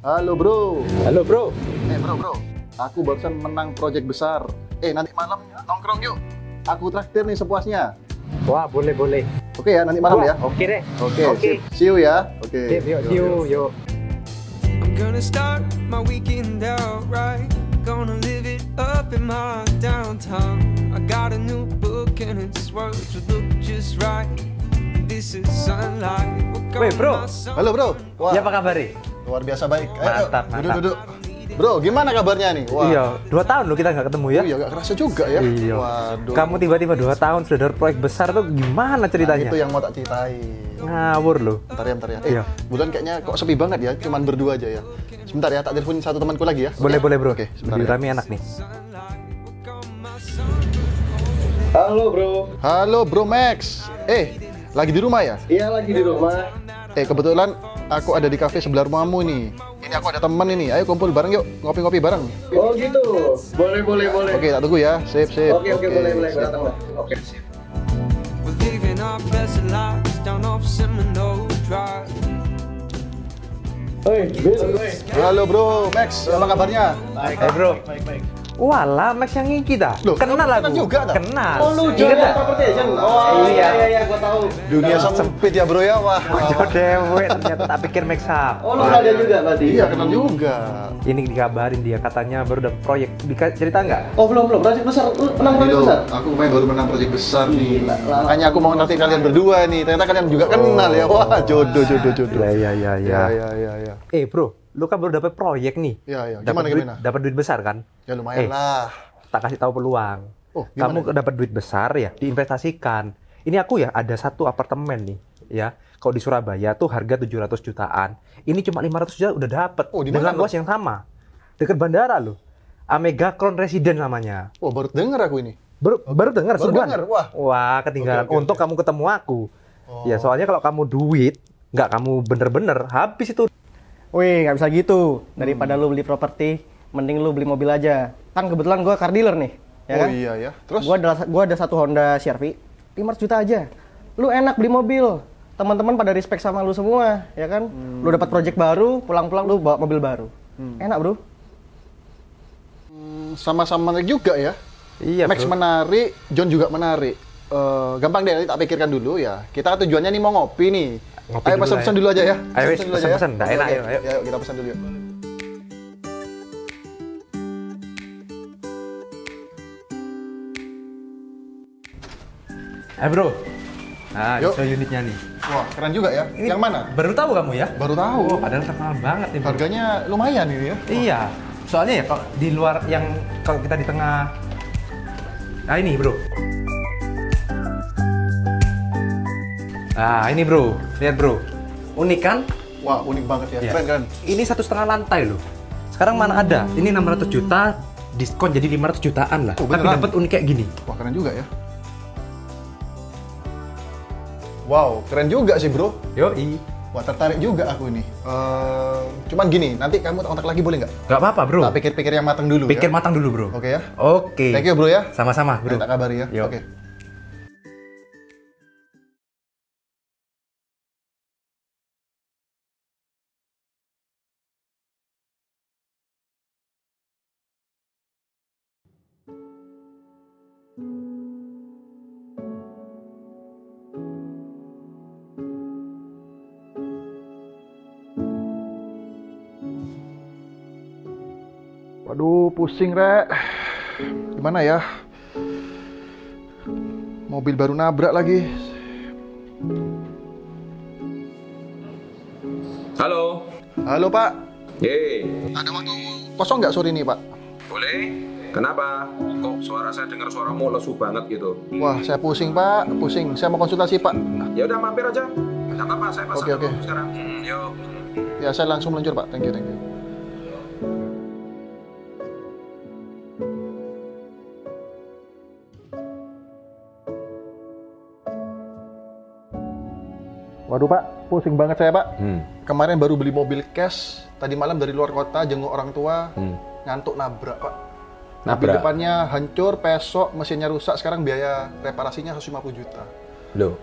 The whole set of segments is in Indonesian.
Halo bro. Halo bro, Eh bro bro, aku barusan menang proyek besar. Eh nanti malam nongkrong yuk. Aku traktir nih sepuasnya. wah boleh boleh. Oke ya nanti malam Wah, ya. Oke deh, Oke. Oke. sip. See you ya. Oke. Sip, yuk, Yo, yo. yuk, yuk. I'm gonna start my weekend out right. Gonna live it up in my downtown. I got a new book and it's worth to look just right. This is sunlight. Weh, bro. Halo bro. Wah, Ya apa kabar nih? luar biasa baik. Ayo, Mantap, duduk, mantap. duduk. Bro, gimana kabarnya nih? Wah. Iya, dua tahun loh kita nggak ketemu ya. Iya, gak kerasa juga ya. Iya. Waduh. Nah, Kamu tiba-tiba dua tahun sudah dapat proyek besar tuh gimana ceritanya? Itu ya. yang mau tak ceritain. Ngawur loh. Bentar ya, bentar ya. Eh, ya? Iya. bulan kayaknya kok sepi banget ya, cuman berdua aja ya. Sebentar ya, tak telepon satu temanku lagi ya. Boleh Oke? boleh bro. Oke, sebentar Lebih ya. rame enak nih. Halo bro, Halo Bro Max. Eh, lagi di rumah ya? iya lagi di rumah. Eh, kebetulan aku ada di kafe sebelah rumahmu nih. Ini aku ada temen ini. Ayo kumpul bareng yuk, ngopi-ngopi bareng. Oh gitu, boleh boleh boleh. Oke, tak tunggu ya. Sip, sip. Oke oke boleh boleh, sip. gue datang lah. Oke sip. We're living our best lives down off Seminole Drive. Hei, Bill, Halo Bro Max, apa kabarnya? Baik, Hey, bro. baik baik. Walah, Max yang ini kita. Eh, Loh, kenal kamu aku. kenal juga, tak? Kenal. Oh lu Ingat jualan tak? properti agent? Oh iya iya iya, gue tahu. Dunia Nah, sempit ya Bro ya. Wah. Ojo dewek, ternyata tak pikir Max up. Oh lu ada juga berarti? Iya, kenal juga. Ini dikabarin dia katanya baru dapat proyek. Dika- cerita nggak? Oh belum belum, proyek besar, lu menang proyek Aduh, besar. aku main baru menang proyek besar nih. Gila, lama. Makanya aku mau nanti kalian berdua nih. Ternyata kalian juga kenal ya. Oh. Wah, jodoh, jodoh, jodoh. Iya iya iya iya. Ya, ya, ya, ya. Eh bro, lu kan baru dapat proyek nih. Iya, iya. Gimana, Dapat duit, gimana? Dapat duit besar kan? Ya lumayan Eh. lah. Tak kasih tahu peluang. Oh, gimana? Kamu dapat duit besar ya, diinvestasikan. Ini aku ya ada satu apartemen nih, ya. Kalau di Surabaya tuh harga 700 jutaan. Ini cuma 500 juta udah dapat. Oh, di mana, dengan bro? luas yang sama. Dekat bandara loh. Amega Crown Resident namanya. Wah, baru dengar aku ini. Baru, baru dengar Oh, Baru sebulan. dengar, wah. ketinggalan. Oke, Oh. oke, Untuk kamu ketemu aku. Ya, soalnya kalau kamu duit, nggak kamu bener-bener habis itu. Wih, nggak bisa gitu. Daripada lu beli properti, mending lu beli mobil aja. Kan kebetulan gua car dealer nih, ya oh kan? iya ya. Terus Gua ada gua ada satu Honda CR-V, 500 juta aja. Lu enak beli mobil. Teman-teman pada respect sama lu semua, ya kan? Lu dapat project baru, pulang-pulang lu bawa mobil baru. Enak, Bro. sama-sama menarik juga ya. Iya, Max bro. menarik, John juga menarik. Eh, gampang deh, nanti tak pikirkan dulu ya. Kita tujuannya nih mau ngopi nih. Ngopi ayo dulu pesan-pesan lah ya. dulu aja ya. Ayo, dulu aja wes, ya. pesan-pesan. Nggak Oke, enak, oke. ayo, ayo. Ya, kita pesan dulu yuk. Eh bro, nah Yuk. itu unitnya nih. Wah, keren juga ya. Ini Yang mana? Baru tahu kamu ya? Baru tahu. Oh, padahal terkenal banget nih. Bro. Harganya lumayan ini ya. Iya. Soalnya ya kalau di luar yang kalau kita di tengah Nah ini, Bro. Nah, ini Bro. Lihat, Bro. Unik kan? Wah, unik banget ya. Iya. Keren, keren. Ini satu setengah lantai loh. Sekarang mana ada? Ini 600 juta diskon jadi 500 jutaan lah. Oh, Tapi beneran? dapat unik kayak gini. Wah keren juga ya. Wow, keren juga sih bro. Yoi. Wah tertarik juga aku ini. Eh, cuman gini, nanti kamu kontak lagi boleh nggak? Gak apa-apa, Bro. Tak pikir-pikir yang matang dulu. Pikir ya. matang dulu, Bro. Oke ya. Oke. Thank you bro ya. Sama-sama, Iya, Bro. Nanti tak kabari ya. Yuk. Oke. Waduh, pusing rek. Gimana ya? Mobil baru nabrak lagi. Halo. Halo Pak. Yeay. Ada waktu kosong nggak sore ini Pak? Boleh? Kenapa? Kok suara saya dengar suaramu lesu banget gitu? Wah, saya pusing Pak, pusing. Saya mau konsultasi Pak. Ya udah mampir aja. Enggak apa-apa, saya pasang Oke, oke. dulu sekarang. Hmm, yuk. Ya, saya langsung meluncur Pak. Thank you, thank you. Waduh Pak, pusing banget saya Pak. Hmm. Kemarin baru beli mobil cash, tadi malam dari luar kota jenguk orang tua, Hmm. ngantuk nabrak Pak. Tapi Nabrak. depannya hancur, pesok, mesinnya rusak, sekarang biaya reparasinya 150 juta. Loh,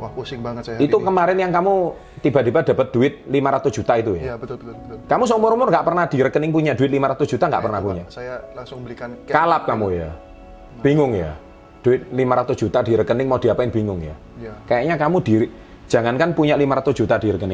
Wah, pusing banget saya. hari itu ini. kemarin yang kamu tiba-tiba dapat duit 500 juta itu ya? Iya, betul betul betul. Kamu seumur-umur nggak pernah di rekening punya duit 500 juta nggak pernah Itu, Pak, punya? Saya langsung belikan cash. Kalap kamu ya? Bingung ya? Duit 500 juta di rekening mau diapain bingung ya? Iya. Kayaknya kamu diri, jangankan punya 500 juta di rekening,